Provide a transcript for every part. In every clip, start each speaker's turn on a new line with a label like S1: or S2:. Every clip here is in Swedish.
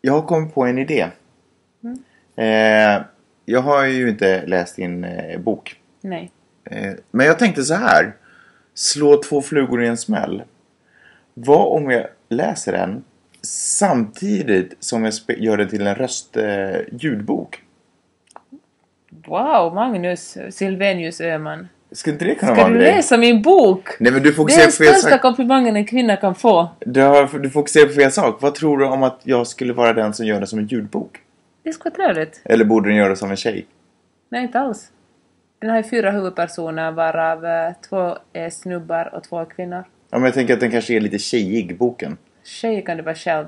S1: Jag har kommit på en idé.
S2: Mm.
S1: Eh, jag har ju inte läst din eh, bok.
S2: Nej.
S1: Eh, men jag tänkte så här. Slå två flugor i en smäll. Vad om jag läser den samtidigt som jag spe- gör den till en röst, eh, ljudbok?
S2: Wow, Magnus Silvenius Öhman.
S1: Ska inte det kunna
S2: Ska
S1: vara en
S2: du
S1: grej?
S2: läsa min bok?
S1: Nej men du
S2: Det är
S1: fokuserar
S2: den
S1: på fel
S2: största
S1: sak.
S2: komplimangen en kvinna kan få.
S1: Du, har, du fokuserar på fel sak. Vad tror du om att jag skulle vara den som gör den som en ljudbok?
S2: Det skulle vara trevligt.
S1: Eller borde den göra det som en tjej?
S2: Nej, inte alls. Den har ju fyra huvudpersoner varav eh, två är snubbar och två är kvinnor.
S1: Ja, men jag tänker att den kanske är lite tjejig, boken.
S2: Tjejer kan du vara själv.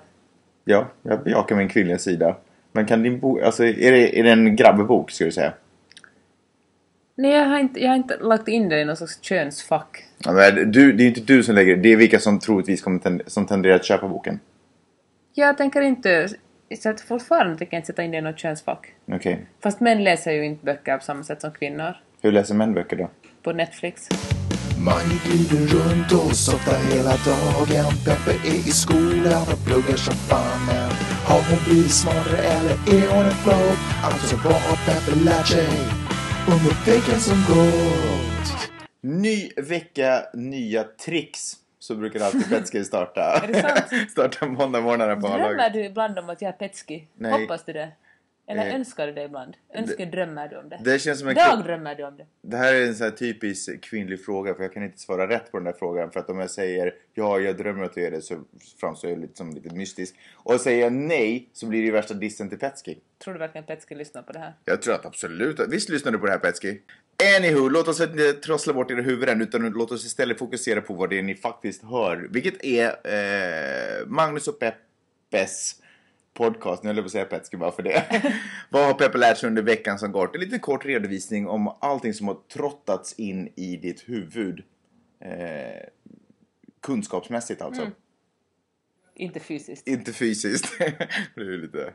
S1: Ja, jag bejakar min kvinnliga sida. Men kan din bok... Alltså, är det, är det en grabbbok, skulle du säga?
S2: Nej, jag har inte, jag har inte lagt in den i någon slags könsfack.
S1: Ja, men du, det är ju inte du som lägger det. Det är vilka som troligtvis kommer ten, som tenderar att köpa boken.
S2: Jag tänker inte... Så att fortfarande tänker jag inte sätta in den i något könsfack.
S1: Okej.
S2: Fast män läser ju inte böcker på samma sätt som kvinnor.
S1: Hur läser män böcker då?
S2: På Netflix.
S3: Man glider runt och softar hela dagen Peppe är i skolan och pluggar som fanen Har hon blivit smartare eller är hon en flopp? Alltså vad har Peppe lärt sig under veckan som gått?
S1: Ny vecka, nya tricks. Så brukar alltid Petski starta. är
S2: det sant?
S1: starta måndagmorgnarna på
S2: Drömmer
S1: A-laget.
S2: du ibland om att jag är petski?
S1: Nej.
S2: Hoppas du det? Eller
S1: Eh,
S2: önskar du det ibland? Önskar, drömmer du om det?
S1: Det känns som en...
S2: Dag drömmer du om det.
S1: Det här är en sån här typisk kvinnlig fråga för jag kan inte svara rätt på den där frågan för att om jag säger ja, jag drömmer att du är det så framstår jag lite som lite mystisk. Och säger jag nej så blir det ju värsta dissen till Petski.
S2: Tror du verkligen Petski lyssnar på det här?
S1: Jag tror att absolut att- Visst lyssnar du på det här Petski? Anywho, låt oss inte trassla bort era huvuden utan låt oss istället fokusera på vad det är ni faktiskt hör. Vilket är eh, Magnus och Peppes podcast. Nu höll jag på att säga Petski bara för det. vad har Peppe lärt sig under veckan som gått? En liten kort redovisning om allting som har trottats in i ditt huvud. Eh, kunskapsmässigt alltså.
S2: Inte fysiskt.
S1: Inte fysiskt. det är ju lite...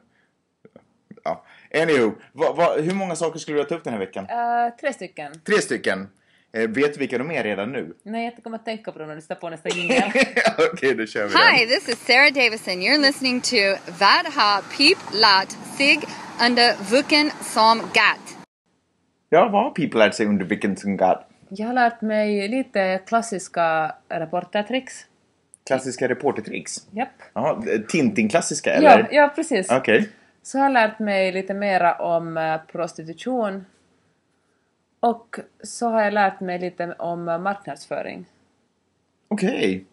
S1: Ja. Anywho, vad- vad- hur många saker skulle du ta upp den här veckan?
S2: Eh, tre stycken.
S1: Tre stycken. Eh, vet du vilka de är redan nu?
S2: Nej, jag kommer att tänka på dem när du sätter på nästa jingel.
S1: Okej, då kör vi
S4: Hi,
S1: den.
S4: this is Sarah Davison. You're listening to Vadha Peep Lat Sig under Vuken Som Gat.
S1: Ja, vad har people lärt sig under vilken som got?
S2: jag har lärt mig lite klassiska reportertricks.
S1: Klassiska reportertricks?
S2: Japp.
S1: Jaha, eh, Tintin-klassiska eller?
S2: Ja, ja, precis.
S1: Okej.
S2: Så jag har lärt mig lite mera om eh, prostitution. Och så har jag lärt mig lite om eh, marknadsföring.
S1: Okej.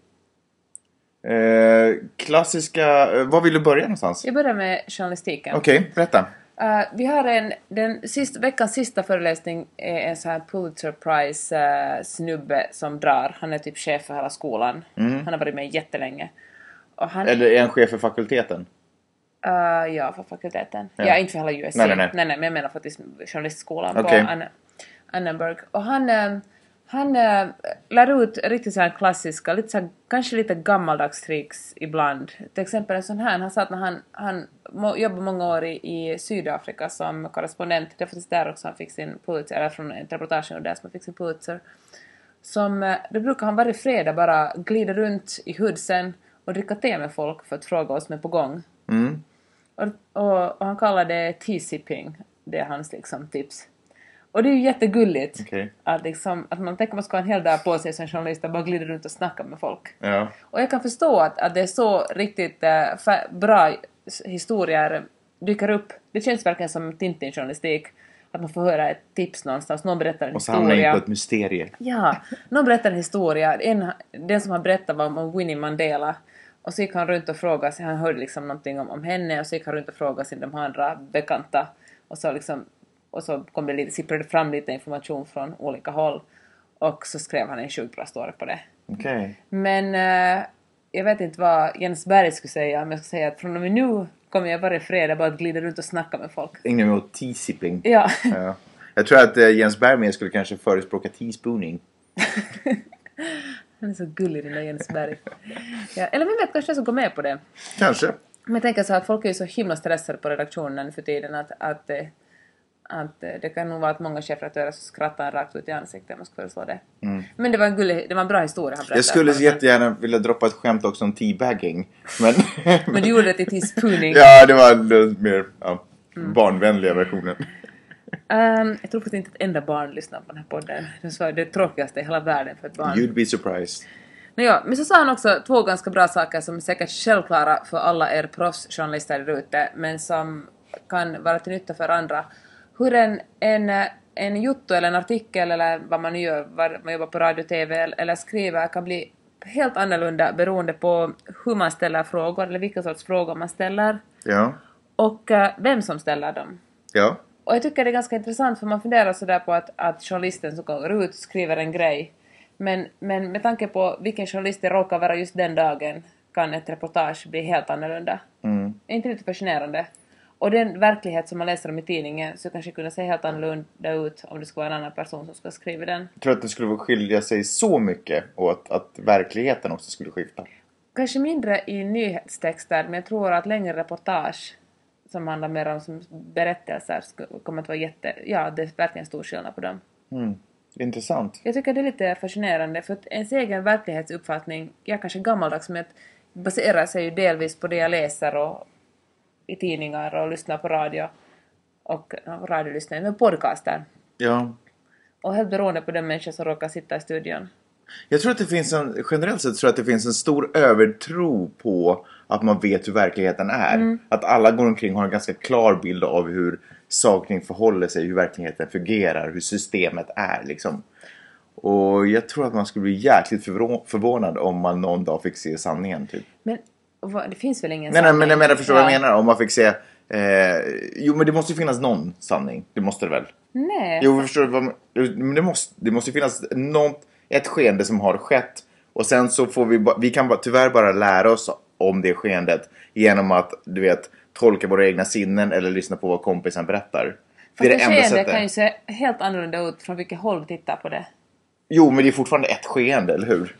S1: Eh, klassiska... eh, Var vill du börja någonstans?
S2: Jag börjar med journalistiken.
S1: Okej, berätta.
S2: Eh, vi har en, den sist, veckans sista föreläsning är en sån här Pulitzer Prize eh, snubbe som drar. Han är typ chef för hela skolan. Han har varit med jättelänge. Och han,
S1: Eller är han chef för fakulteten?
S2: Eh, ja, för fakulteten. Ja. inte för hela USC.
S1: Nej, nej, nej.
S2: men jag menar faktiskt journalistskolan
S1: Okej.
S2: på Anna, Annenberg. Och han, eh, han äh, lär ut riktigt så här klassiska, lite så här, kanske lite gammaldags tricks ibland. Till exempel en sån här, han sa att när han, han må, jobbade många år i, i Sydafrika som korrespondent, det var faktiskt där också han fick sin Pulitzer, eller från ett reportage där som han fick sin Pulitzer som, eh, då brukar han varje fredag bara glida runt i hoodsen och dricka te med folk för att fråga vad som är på gång.
S1: Mm.
S2: Och, och, och han kallar det tea-sipping, det är hans liksom, tips. Och det är ju jättegulligt
S1: Okej.
S2: att, liksom, att man tänker man ska ha en hel dag på sig som journalist och bara glida runt och snacka med folk.
S1: Ja.
S2: Och jag kan förstå att, att det är så riktigt eh, fa- bra s- historier dyker upp. Det känns verkligen som Tintin-journalistik, att man får höra ett tips någonstans, någon berättar en
S1: Och så
S2: historia.
S1: hamnar jag in på ett mysterium.
S2: Ja, någon berättade en historia. En, den som han berättade var om Winnie Mandela. Och så gick han runt och frågade, sig- han hörde liksom någonting om, om henne och så gick han runt och frågade sig de andra bekanta. Och så, liksom, och så kom det lite, sipprade fram lite information från olika håll. Och så skrev han en sjukt bra story på det.
S1: Okej.
S2: Men eh, jag vet inte vad Jens Berg skulle säga, men jag skulle säga att från och med nu kommer jag varje fredag bara att glida runt och snacka med folk.
S1: Ingen mot teasipping.
S2: Ja.
S1: Ja. Jag tror att eh, Jens Bergman skulle kanske förespråka teaspooning.
S2: Han är så gullig den där Jens Berg. Ja, eller vem vet, kanske jag ska gå med på det.
S1: Kanske.
S2: Men jag tänker så här, folk är ju så himla stressade på redaktionen för tiden att, att, eh, att eh, det kan nog vara att många chefredaktörer så skrattar rakt ut i ansiktet om man skulle föreslå det. Men det var en gullig, det var en bra historia han berättade.
S1: Mm. Jag skulle
S2: Men-
S1: jättegärna vilja droppa ett skämt också om teabagging. Men,
S2: Men du gjorde det till Mm. teaspooning.
S1: ja, det var den mer ja, barnvänliga versionen.
S2: Ehm, jag tror faktiskt inte att enda barn lyssnar på den här podden. Det är så- det tråkigaste i hela världen för ett barn.
S1: You'd be surprised.
S2: Men, ja, men så sa han också två ganska bra saker som är säkert självklara för alla er proffsjournalister där ute men som kan vara till nytta för andra. Hur en, en, eh, en jotto eller en artikel eller vad man nu gör, vad man jobbar på radio, TV eller eller skriver kan bli helt annorlunda beroende på hur man ställer frågor eller vilka sorts frågor man ställer
S1: Ja,
S2: och eh, vem som ställer dem.
S1: ja,
S2: Och jag tycker det är ganska intressant för man funderar sådär på att, att journalisten som går ut skriver en grej. Men, men med tanke på vilken journalist det råkar vara just den dagen kan ett reportage bli helt annorlunda.
S1: Mm.
S2: Är inte det lite fascinerande? Och den verklighet som man läser om i tidningen så kanske kunde se helt annorlunda ut om det skulle vara en annan person som skulle skriva den.
S1: Jag tror att det skulle skilja sig så mycket och att, att verkligheten också skulle skifta.
S2: Kanske mindre i nyhetstexter men jag tror att längre reportage som handlar mer om som berättelser skulle- kommer att vara jätte... Ja, det är verkligen stor skillnad på dem.
S1: Mm. Intressant.
S2: Jag tycker det är lite fascinerande för att ens egen verklighetsuppfattning, jag kanske är gammaldags men att baserar sig ju delvis på det jag läser och i tidningar och lyssnar på radio och ja, radiolyssnar, men podcaster.
S1: Ja.
S2: Och helt beroende på den människa som råkar sitta i studion.
S1: Jag tror att det finns en, generellt sett tror jag att det finns en stor övertro på att man vet hur verkligheten är. Att alla går omkring och har en ganska klar bild av hur saker förhåller sig, hur verkligheten fungerar, hur systemet är liksom. Och jag tror att man skulle bli jäkligt förvrå- förvånad om man någon dag fick se sanningen typ.
S2: Men vad, det finns väl ingen
S1: Nej, nej
S2: sanning?
S1: men jag menar, förstår vad
S2: Ja.
S1: jag menar? Om man fick se... Eh, jo men det måste ju finnas någon sanning. Det måste det väl?
S2: Nej.
S1: Jo, förstår du vad man- men det måste, det måste ju finnas något, ett skeende som har skett och sen så får vi, ba- vi kan bara, tyvärr bara lära oss om det skeendet genom att, du vet, tolka våra egna sinnen eller lyssna på vad kompisen berättar.
S2: Fast en skeende kan ju se helt annorlunda ut från vilket håll du tittar på det.
S1: Jo, men det är fortfarande ett skeende, eller hur?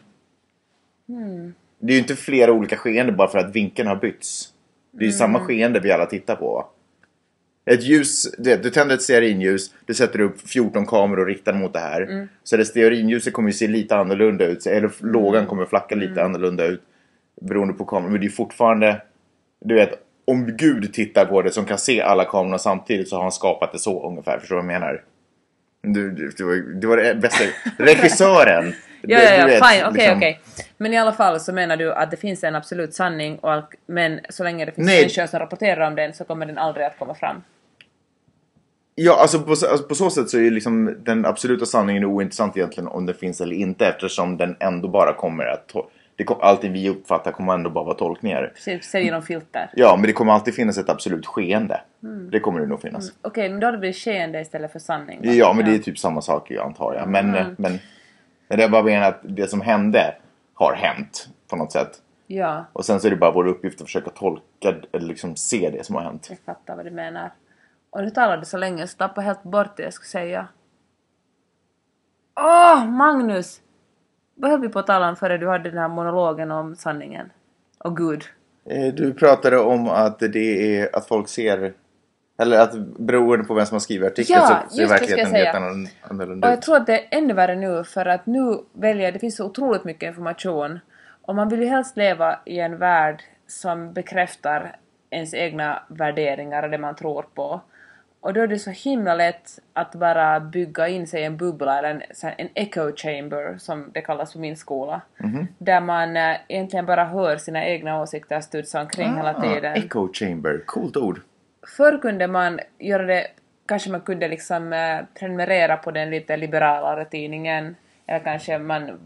S1: Det är ju inte flera olika skeenden bara för att vinkeln har bytts. Det är ju samma
S2: Mm.
S1: skeende vi alla tittar på. Va? Ett ljus, du, vet, du tänder ett stearinljus, du sätter upp 14 kameror och riktar mot det här.
S2: Mm.
S1: Så det stearinljuset kommer ju se lite annorlunda ut, så- eller
S2: Mm.
S1: lågan kommer flacka lite annorlunda ut beroende på kameran. Men det är ju fortfarande, du vet, om Gud tittar på det som kan se alla kamerorna samtidigt så har han skapat det så ungefär. Förstår du vad jag menar? Du, du, det, var, det var det bästa. Regissören!
S2: Ja,
S1: Du-
S2: ja, ja,
S1: du vet,
S2: fine, okej,
S1: liksom.
S2: okej. Men i alla fall så menar du att det finns en absolut sanning, och allt, men så länge det finns
S1: Nej.
S2: människor som rapporterar om den så kommer den aldrig att komma fram.
S1: Ja, alltså på, så- alltså på så sätt så är ju liksom den absoluta sanningen ointressant egentligen om den finns eller inte eftersom den ändå bara kommer att... tol- Det, kom- allt det vi uppfattar kommer ändå bara vara tolkningar.
S2: Se, se genom
S1: Mm.
S2: filter.
S1: Ja, men det kommer alltid finnas ett absolut skeende. Det kommer det nog finnas.
S2: Okej, men då hade det blivit skeende istället för sanning. va?
S1: Ja, men det är typ samma sak ju, antar jag. Men, men, men jag bara menar att det som hände har hänt på något sätt.
S2: Ja,
S1: Och sen så är det bara vår uppgift att försöka tolka eller liksom se det som har hänt.
S2: jag fattar vad du menar. Och nu talade du så länge så tappade jag helt bort det jag skulle säga. Åh, Magnus! Vad höll vi på att tala om före du hade den här monologen om sanningen? Och Gud.
S1: Eh, Du pratade om att det är att folk ser eller att beroende på vem som har skrivit artikeln
S2: Ja,
S1: så ser
S2: just det ska jag
S1: verkligheten helt
S2: säga.
S1: annan-
S2: Och
S1: annorlunda
S2: jag
S1: ut.
S2: tror att det är ännu värre nu för att nu väljer, det finns så otroligt mycket information och man vill ju helst leva i en värld som bekräftar ens egna värderingar och det man tror på. Och då är det så himla lätt att bara bygga in sig i en bubbla eller en, så här- en echo chamber som det kallas på min skola. Där man äh, egentligen bara hör sina egna åsikter studsa omkring hela tiden.
S1: Ah, echo chamber, coolt ord.
S2: Förr kunde man göra det, kanske man kunde liksom eh, prenumerera på den lite liberalare tidningen eller kanske man,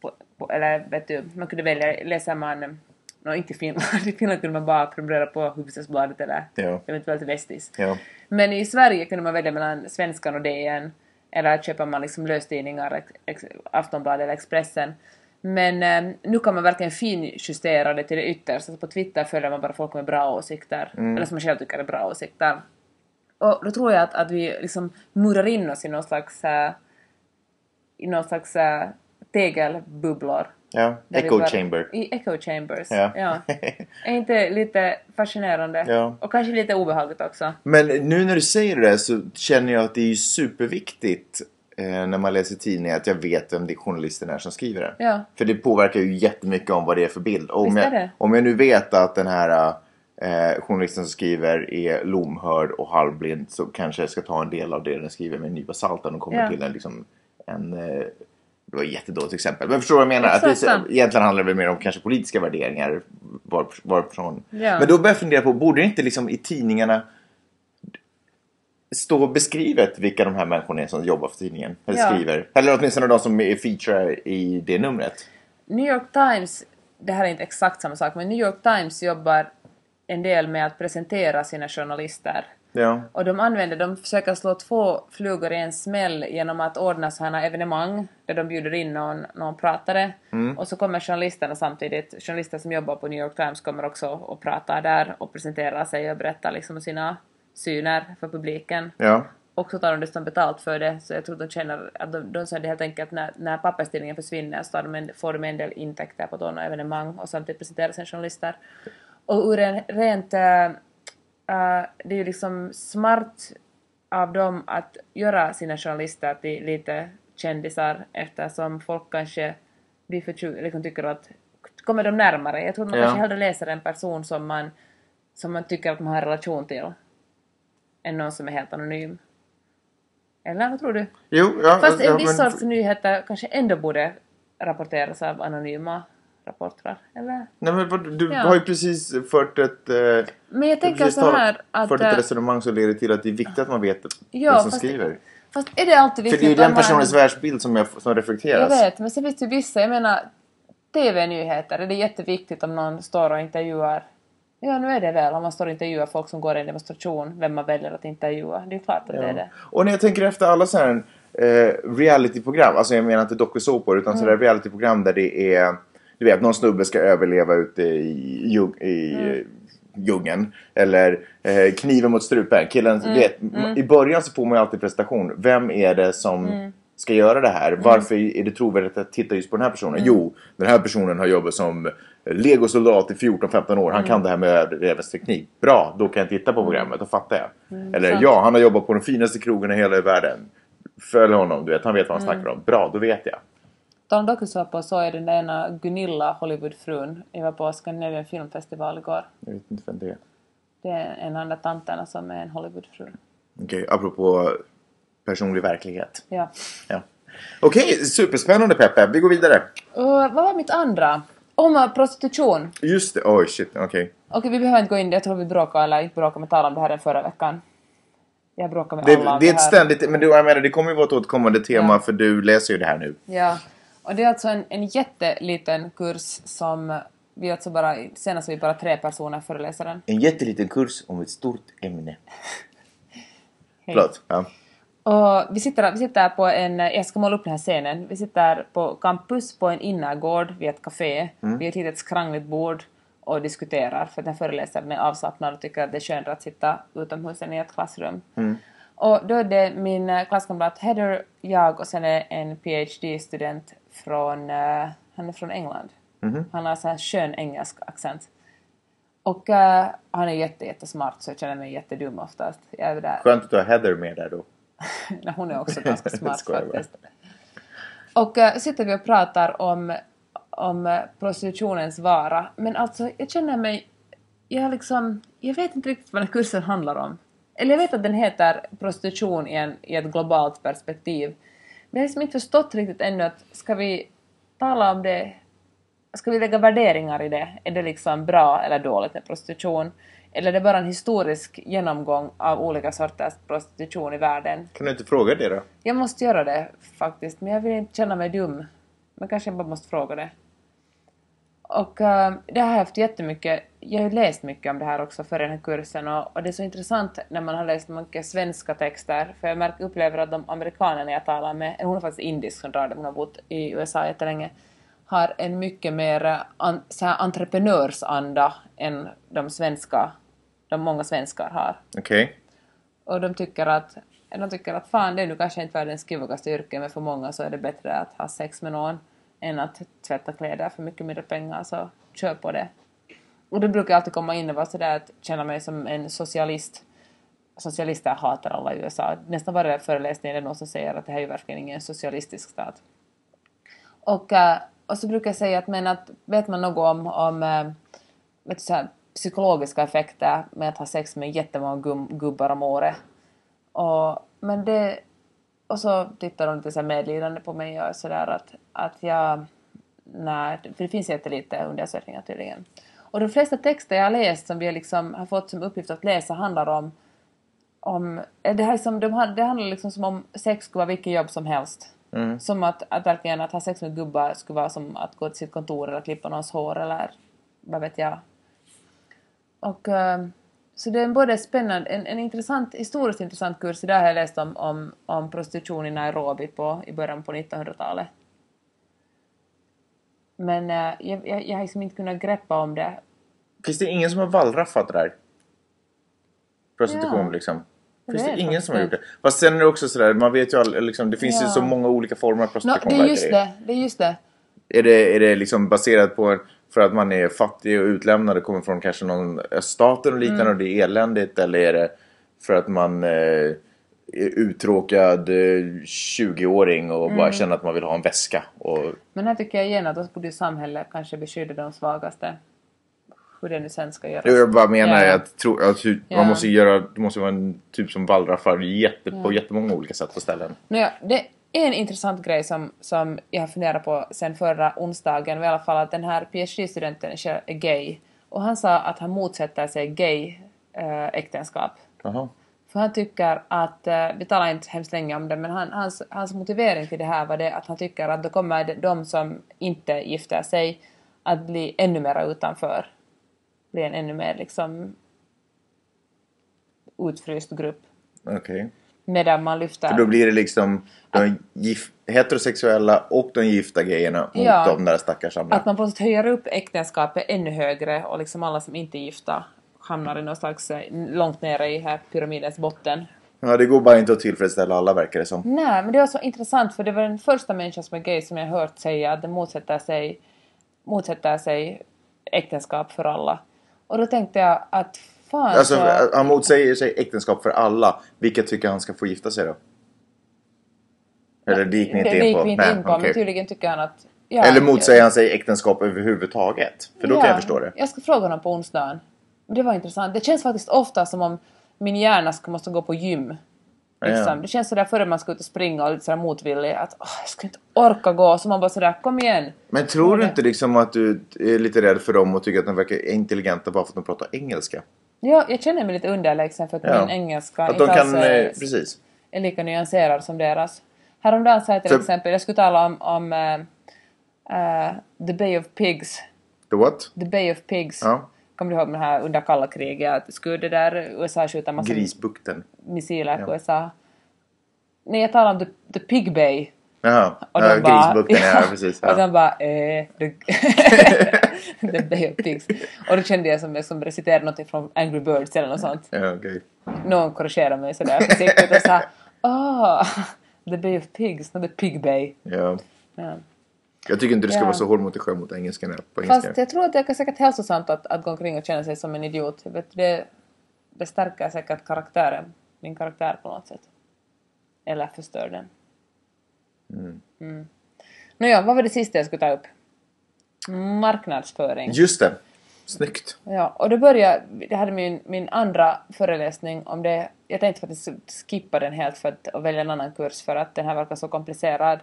S2: på, på, eller vet du, man kunde välja, läser man, no, inte i Finland, i Finland kunde man bara prenumerera på Hufvudstadsbladet eller
S1: Ja.
S2: eventuellt Vestis.
S1: Ja.
S2: Men i Sverige kunde man välja mellan Svenskan och DN eller köper man liksom löstidningar, ex, ex, Aftonbladet eller Expressen. Men eh, nu kan man verkligen finjustera det till det yttersta. Så på Twitter följer man bara folk med bra åsikter,
S1: Mm.
S2: eller som man själv tycker är bra åsikter. Och då tror jag att, att vi liksom murar in oss i någon slags, eh, i någon slags eh, tegelbubblor
S1: Ja.
S2: Där vi
S1: Echo
S2: bara-
S1: chamber.
S2: I echo chambers.
S1: Ja.
S2: Är inte lite fascinerande?
S1: Ja.
S2: Och kanske lite obehagligt också.
S1: Men nu när du säger det så känner jag att det är ju superviktigt eh, när man läser tidningar att jag vet vem det journalisten är som skriver den.
S2: Ja.
S1: För det påverkar ju jättemycket om vad det är för bild. Och om,
S2: Visst
S1: jag,
S2: är det.
S1: om jag nu vet att den här eh, journalisten som skriver är lomhörd och halvblind så kanske jag ska ta en del av det den skriver med en nypa salt om de kommer
S2: Ja.
S1: till en, liksom, en eh, det var ett jättedåligt exempel. Men förstår du vad jag menar? Att
S2: Exakt
S1: det,
S2: sant.
S1: egentligen handlar det väl mer om kanske politiska värderingar. Var, varifrån.
S2: Ja.
S1: Men då börjar jag fundera på, borde det inte liksom i tidningarna stå beskrivet vilka de här människorna är som jobbar för tidningen? Eller
S2: Ja.
S1: skriver? Eller åtminstone de som är feature i det numret.
S2: New York Times, det här är inte exakt samma sak, men New York Times jobbar en del med att presentera sina journalister.
S1: Ja.
S2: Och de använder, de försöker slå två flugor i en smäll genom att ordna sådana evenemang där de bjuder in någon, någon pratare och så kommer journalisterna samtidigt, journalister som jobbar på New York Times kommer också och pratar där och presenterar sig och berättar liksom sina syner för publiken.
S1: Ja.
S2: Och så tar de dessutom betalt för det, så jag tror de känner att de, de sa det helt enkelt att när, när papperstidningen försvinner så tar de en, får de en del intäkter på sådana evenemang och samtidigt presenterar sina journalister. Och ur en rent... eh, eh, det är ju liksom smart av dem att göra sina journalister till lite kändisar eftersom folk kanske blir förtju- liksom tycker att kommer de närmare. Jag tror man
S1: Ja.
S2: kanske hellre läser en person som man, som man tycker att man har en relation till än någon som är helt anonym. Eller vad tror du?
S1: Jo, ja,
S2: Fast
S1: ja,
S2: en viss
S1: men-
S2: sorts nyheter kanske ändå borde rapporteras av anonyma rapportrar, eller?
S1: Nej, men vad, du
S2: Ja.
S1: har ju precis fört ett... Eh, du
S2: Men jag
S1: har
S2: tänker
S1: precis
S2: så här
S1: talat-
S2: att...
S1: fört
S2: eh,
S1: ett resonemang som leder till att det är viktigt att man vet
S2: Ja,
S1: vem som
S2: fast-
S1: skriver.
S2: Fast är det alltid
S1: För
S2: viktigt
S1: det är ju
S2: att
S1: den
S2: ha en-
S1: personens världsbild som, jag, som
S2: Jag
S1: reflekteras.
S2: vet, men sen finns det ju vissa, jag menar TV-nyheter, är det jätteviktigt om någon står och intervjuar Ja, nu är det väl om man står och intervjuar folk som går i en demonstration, vem man väljer att intervjua. Det är ju klart att det är det.
S1: Och när jag tänker efter alla så här eh, realityprogram, alltså jag menar inte dokusåpor utan sådär realityprogram där det är, du vet någon snubbe ska överleva ute i, djung, i eh, djungeln. Eller eh, kniven mot strupen. Killen, du vet, I början så får man ju alltid presentation. Vem är det som ska göra det här? Varför är det trovärdigt att titta just på den här personen? Jo, den här personen har jobbat som legosoldat i 14-15 år. Han kan det här med överlevnadsteknik. Bra, då kan jag titta på programmet. Då fattar jag. Eller
S2: sant.
S1: ja, han har jobbat på den finaste krogen i hela världen. Följ honom, du vet. Han vet vad
S2: Mm.
S1: han snackar om. Bra, då vet jag.
S2: Tom Dokusåpa såg jag den där ena Gunilla, Hollywoodfrun. Jag var på Scandinavian Film Festival igår.
S1: Jag vet inte vem det är.
S2: Det är en av de där tanterna som är en Hollywoodfru.
S1: Okej, apropå personlig verklighet.
S2: Ja.
S1: Ja. Okej, superspännande Peppe. Vi går vidare.
S2: Och vad var mitt andra? Om eh, prostitution.
S1: Just det, oj shit, okej.
S2: Okej, vi behöver inte gå in det. Jag tror vi bråkade, eller inte bråkade, men talade om det här den förra veckan. Jag bråkade med
S1: Det,
S2: alla om
S1: det är ett
S2: här.
S1: ständigt, men du, jag menar, det kommer ju vara ett återkommande tema
S2: Ja.
S1: för du läser ju det här nu.
S2: Ja, och det är alltså en, en jätteliten kurs som vi alltså bara, senast var vi bara tre personer föreläser den.
S1: En jätteliten kurs om ett stort ämne.
S2: Hej.
S1: Förlåt. Ja.
S2: Och vi sitter, vi sitter på en, jag ska måla upp den här scenen, vi sitter på campus på en innergård vid ett café, vid ett litet skrangligt bord och diskuterar för den här föreläsaren är avslappnad och tycker att det är skönare att sitta utomhus än i ett klassrum. Och då är det min eh, klasskamrat Heather, jag och sen är en PhD-student från, eh, han är från England. Han har så här skön engelsk accent. Och eh, han är jätte, jättesmart så jag känner mig jättedum oftast. Jag är där
S1: Skönt att du har Heather med där då.
S2: Nej, hon är också ganska smart
S1: Skojar bara.
S2: faktiskt. Och äh, sitter vi och pratar om, om eh, prostitutionens vara. Men alltså, jag känner mig... Jag, har liksom, jag vet inte riktigt vad den här kursen handlar om. Eller jag vet att den heter prostitution i, en, i ett globalt perspektiv. Men jag har liksom inte förstått riktigt ännu att ska vi tala om det Ska vi lägga värderingar i det? Är det liksom bra eller dåligt med prostitution? Eller är det bara en historisk genomgång av olika sorters prostitution i världen?
S1: Kan du inte fråga det då?
S2: Jag måste göra det faktiskt, men jag vill inte känna mig dum. Men kanske jag bara måste fråga det. Och eh, det har jag haft jättemycket, jag har ju läst mycket om det här också för den här kursen och, och det är så intressant när man har läst mycket svenska texter för jag märker, upplever att de amerikanerna jag talar med, eller hon är faktiskt indisk som drar det, hon har bott i USA jättelänge, har en mycket mer eh, an, så här entreprenörsanda än de svenska, de många svenskar har.
S1: Okej.
S2: Och de tycker att, de tycker att fan det är nu kanske inte världens kivogaste yrke men för många så är det bättre att ha sex med någon än att tvätta kläder för mycket mindre pengar, så kör på det. Och det brukar jag alltid komma in och vara sådär att känna mig som en socialist. Socialister hatar alla i USA. Nästan varje föreläsning är det någon som säger att det här är ju verkligen ingen socialistisk stat. Och, eh, och så brukar jag säga att, men att vet man något om, om eh, vet du, så här, psykologiska effekter med att ha sex med jättemånga gum, gubbar om året. Och, men det, och så tittar de lite så här medlidande på mig och sådär att, att jag... Nej, för det finns jättelite undersökningar tydligen. Och de flesta texter jag har läst som vi har liksom har fått som uppgift att läsa handlar om... om eh, det, här som, de, har- det handlar liksom som om sex skulle vara vilket jobb som helst. Som att, att verkligen att ha sex med gubbar skulle vara som att gå till sitt kontor eller klippa någons hår eller vad vet jag. Och, eh, så det är en både spännande, en, en intressant, historiskt intressant kurs. Idag har jag läst om, om, om prostitution i Nairobi på, i början på 1900-talet. Men eh, jag, jag, jag har liksom inte kunnat greppa om det.
S1: Finns det ingen som har wallraffat det där? Prostitution
S2: Ja.
S1: liksom.
S2: Jag
S1: Finns det,
S2: vet
S1: ingen som har gjort
S2: faktiskt
S1: det? Fast sen är det också sådär, man vet ju all, liksom, det finns ju
S2: Ja.
S1: så många olika former av
S2: Nå,
S1: prostitution.
S2: det är
S1: verkar
S2: just det, det är just det.
S1: Är det, är det liksom baserat på en- för att man är fattig och utlämnad och kommer från kanske någon öststaten och
S2: Mm.
S1: liknande och det är eländigt eller är det för att man eh, är uttråkad eh, 20-åring och
S2: Mm.
S1: bara känner att man vill ha en väska? Och,
S2: Men här tycker jag igen att då borde ju samhället kanske beskydda de svagaste. Hur det nu sen ska göras.
S1: jag bara menar
S2: Ja.
S1: att, tro, att hur,
S2: Ja.
S1: man måste göra, det måste vara en typ som wallraffar jätte, på jättemånga olika sätt och ställen.
S2: Nåja, det är en intressant grej som, som jag har funderat på sen förra onsdagen, i alla fall att den här PhD-studenten är gay. Och han sa att han motsätter sig eh, gay-äktenskap.
S1: Jaha.
S2: För han tycker att, eh, vi talar inte hemskt länge om det, men han, hans, hans motivering till det här var det att han tycker att då kommer de- de som inte gifter sig att bli ännu mer utanför. Bli en ännu mer liksom utfryst grupp.
S1: Okej.
S2: Medan man lyfter...
S1: För då blir det liksom de gif- heterosexuella och de gifta grejerna mot
S2: Ja.
S1: de där stackars andra.
S2: Att man på något sätt höjer upp äktenskapet ännu högre och liksom alla som inte är gifta hamnar i någon slags eh, långt nere i här pyramidens botten.
S1: Ja, det går bara inte att tillfredsställa alla verkar det som.
S2: Nej, men det var så intressant för det var den första människan som är gay som jag har hört säga att den motsätter sig, motsätter sig äktenskap för alla. Och då tänkte jag att fan
S1: Alltså,
S2: så...
S1: han motsäger sig äktenskap för alla. Vilka tycker han ska få gifta sig då? Eller det gick ni inte
S2: det
S1: in på?
S2: gick vi inte in på,
S1: okej.
S2: men tydligen tycker han att... ja,
S1: Eller motsäger han sig äktenskap överhuvudtaget? För då kan
S2: Ja,
S1: jag förstå det.
S2: Jag ska fråga honom på onsdagen. Det var intressant. Det känns faktiskt ofta som om min hjärna ska, måste gå på gym.
S1: Ja,
S2: Liksom.
S1: ja.
S2: Det känns sådär före man ska ut och springa och lite sådär motvillig att åh, jag skulle inte orka gå. Så man bara sådär kom igen.
S1: Men tror du
S2: Ja,
S1: inte liksom att du är lite rädd för dem och tycker att de verkar intelligenta bara för att de pratar engelska?
S2: Ja, jag känner mig lite underlägsen för att
S1: Ja.
S2: min engelska
S1: Att
S2: inte
S1: de kan...
S2: alls
S1: eh,
S2: är,
S1: Precis.
S2: är lika nyanserad som deras. Häromdagen sa jag till
S1: För-
S2: exempel, jag skulle tala om, om eh, eh, The Bay of Pigs.
S1: The what?
S2: The Bay of Pigs.
S1: Ja.
S2: Kommer du ihåg med det här under kalla kriget? Att skulle det där USA skjuta en massa
S1: Grisbukten.
S2: missiler på
S1: Ja.
S2: USA. Nej, jag talar om The, the Pig Bay.
S1: Jaha.
S2: Och
S1: ja,
S2: de bara,
S1: Grisbukten, ja, precis.
S2: Och
S1: Ja.
S2: de bara eh, the, the Bay of Pigs. Och då kände jag som jag som reciterade något från Angry Birds eller något sånt.
S1: Ja, okej.
S2: Någon korrigerade mig sådär försiktigt och sa ah The Bay of Pigs, not the Pig Bay.
S1: ja.
S2: Ja.
S1: Jag tycker inte du ska
S2: Ja.
S1: vara så hård mot dig själv mot engelskan. eller På
S2: Fast
S1: engelskan.
S2: jag tror att det är säkert hälsosamt att, att gå omkring och känna sig som en idiot. Jag Vet, det, det stärker säkert karaktären, min karaktär på något sätt. Eller förstör den. Mm. Nåja, vad var det sista jag skulle ta upp? Marknadsföring.
S1: Just det. Snyggt.
S2: Ja, och då började jag hade min, min andra föreläsning om det. Jag tänkte faktiskt skippa den helt för att, och välja en annan kurs för att den här verkar så komplicerad.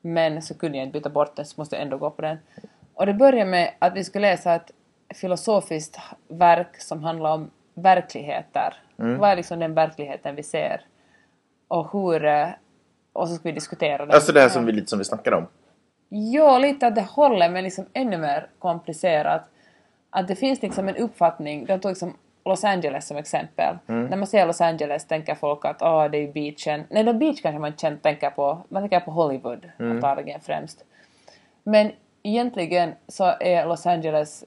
S2: Men så kunde jag inte byta bort den så måste jag ändå gå på den. Och det började med att vi skulle läsa ett filosofiskt verk som handlar om verkligheter.
S1: Mm.
S2: Vad är liksom den verkligheten vi ser? Och hur... eh, Och så skulle vi diskutera den.
S1: Alltså det här som
S2: Ja.
S1: vi, lite som vi snackade om.
S2: Ja, lite att det håller men liksom ännu mer komplicerat. Att det finns liksom en uppfattning, de tog liksom Los Angeles som exempel. När man ser Los Angeles tänker folk att åh, det är ju beachen. Nej, då beach kanske man inte känner- tänker på, man tänker på Hollywood antagligen främst. Men egentligen så är Los Angeles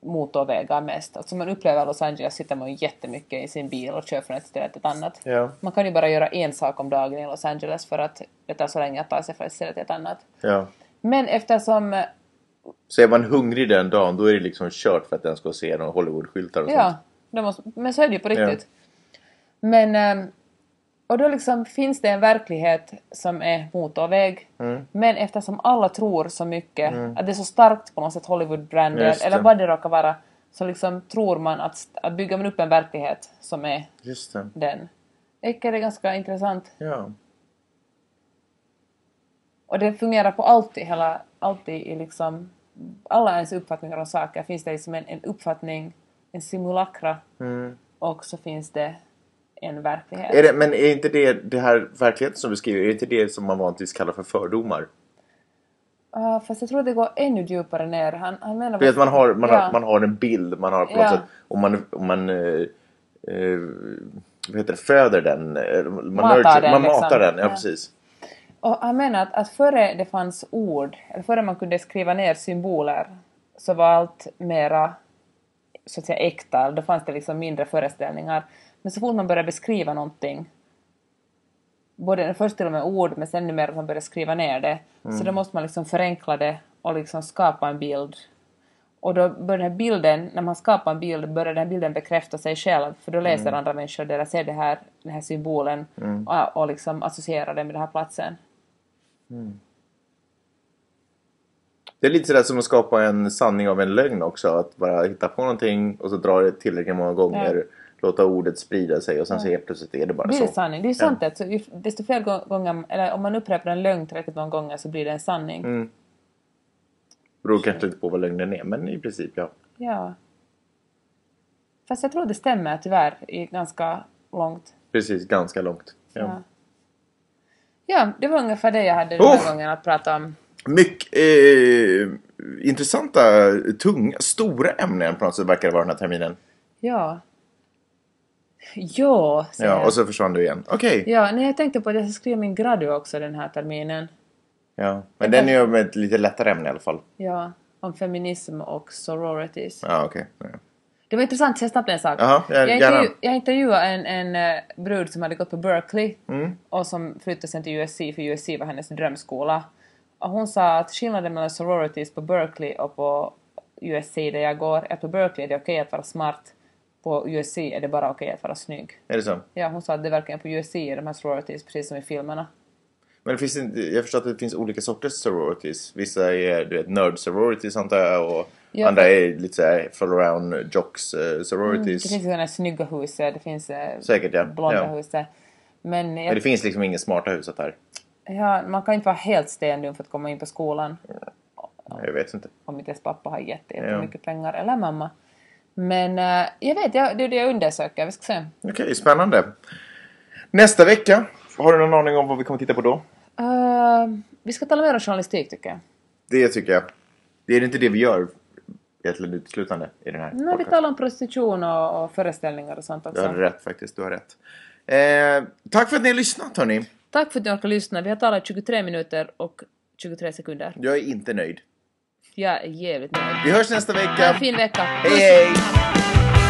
S2: motorvägar mest. Alltså man upplever Los Angeles sitter man ju jättemycket i sin bil och kör från ett ställe till ett annat.
S1: Ja.
S2: Man kan ju bara göra en sak om dagen i Los Angeles för att det tar så länge att ta sig från ett ställe till ett annat.
S1: Ja.
S2: Men eftersom... eh,
S1: Så är man hungrig den dagen då är det liksom kört för att den ska se några Hollywood-skyltar och
S2: Ja,
S1: sånt.
S2: då måste, men så är det ju på riktigt. Men... ehm, Och då liksom finns det en verklighet som är motorväg.
S1: Mm.
S2: Men eftersom alla tror så mycket, att det är så starkt på något sätt Hollywood-brander,
S1: Just det.
S2: eller vad det råkar vara, så liksom tror man att, st- att bygger man upp en verklighet som är
S1: Just det.
S2: den. Ecker är ganska intressant.
S1: Ja.
S2: Och det fungerar på allt i hela, alltid i liksom, alla ens uppfattningar om saker finns det liksom en, en uppfattning, en simulakra och så finns det en verklighet.
S1: Mm. Är det, men är inte det, det här verkligheten som du skriver, är inte det som man vanligtvis kallar för fördomar?
S2: Ah, fast jag tror det går ännu djupare ner. Han, han menar...
S1: Du vet, man har, man,
S2: Ja.
S1: har, man har en bild, man har på något
S2: Ja.
S1: sätt, om man, om man eh, eh, vad heter det, föder den, eh, man,
S2: Matar
S1: nurture-
S2: den,
S1: man
S2: liksom.
S1: matar den, ja,
S2: Ja.
S1: precis.
S2: Och han menar att, att före det fanns ord, eller före man kunde skriva ner symboler, så var allt mera så att säga äkta, då fanns det liksom mindre föreställningar. Men så fort man började beskriva någonting, både först till och med ord, men sen numera att man började skriva ner det, så då måste man liksom förenkla det och liksom skapa en bild. Och då börjar den här bilden, när man skapar en bild, börjar den här bilden bekräfta sig själv, för då läser andra människor det, eller ser det här, den här symbolen och, och liksom associerar den med den här platsen.
S1: Det är lite sådär som att skapa en sanning av en lögn också. Att bara hitta på någonting och så dra det tillräckligt många gånger. Låta ordet sprida sig och sen så helt plötsligt är det bara
S2: blir
S1: så.
S2: det sanning. Det är ju sant att så ju, desto fler gå- gånger, eller om man upprepar en lögn tillräckligt många gånger så blir det en sanning.
S1: Mm. Beror kanske lite på vad lögnen är men i princip ja.
S2: Ja. Fast jag tror det stämmer tyvärr i ganska långt.
S1: Precis, ganska långt. Ja.
S2: Ja. Ja, det var ungefär det jag hade den
S1: Uff!
S2: här gången att prata om.
S1: Mycket eh, intressanta, tunga, stora ämnen på något sätt verkar det vara den här terminen.
S2: Ja. Ja, säger
S1: Ja,
S2: jag.
S1: och så försvann du igen. Okej.
S2: Ja, nej, jag tänkte på att jag ska skriva min gradu också den här terminen.
S1: Ja. Men den är ju med ett lite lättare ämne i alla fall.
S2: Ja, om feminism och sororities.
S1: Ja, okej. Ja.
S2: Det var intressant, så jag snabbt en sak.
S1: Jaha, ja,
S2: jag, intervju,
S1: gärna.
S2: jag intervjuade en, en eh, brud som hade gått på Berkeley
S1: Mm.
S2: och som flyttade sen till USC för USC var hennes drömskola. Och hon sa att skillnaden mellan sororities på Berkeley och på USC där jag går är att på Berkeley är det okej att vara smart, på USC är det bara okej att vara snygg.
S1: Är det så?
S2: Ja, hon sa att det verkligen på USC är de här sororities precis som i filmerna.
S1: Men det finns inte, jag förstår att det finns olika sorters sororities. Vissa är du vet, nerd sororities antar jag och
S2: Ja,
S1: andra
S2: för-
S1: är lite såhär fall around jocks eh,
S2: Mm, Det
S1: sororities.
S2: finns ju sådana här snygga hus, eh, det finns eh,
S1: Säkert ja.
S2: blonda
S1: ja.
S2: hus. eh. Men jag
S1: Men det finns liksom inga smarta huset här.
S2: Ja, man kan inte vara helt stendum för att komma in på skolan
S1: Jag vet inte.
S2: om inte ens pappa har gett dig jättemycket pengar, eller mamma. Men eh, jag vet, jag, det är det jag undersöker. Vi ska se.
S1: Okej, spännande. Nästa vecka, har du någon aning om vad vi kommer titta på då?
S2: Eh, vi ska tala mer om journalistik tycker jag.
S1: Det tycker jag. Det är inte det vi gör egentligen uteslutande i den här
S2: Nej, vi talar om prostitution och, och föreställningar och sånt
S1: Du
S2: också.
S1: har rätt faktiskt, du har rätt. Eh, tack för att ni har lyssnat hörni.
S2: Tack för att ni orkar lyssna. Vi har talat 23 minuter och 23 sekunder.
S1: Jag är inte nöjd.
S2: Jag är jävligt nöjd.
S1: Vi hörs nästa
S2: Ha en
S1: vecka.
S2: fin vecka.
S1: Hej hej!
S4: Bye.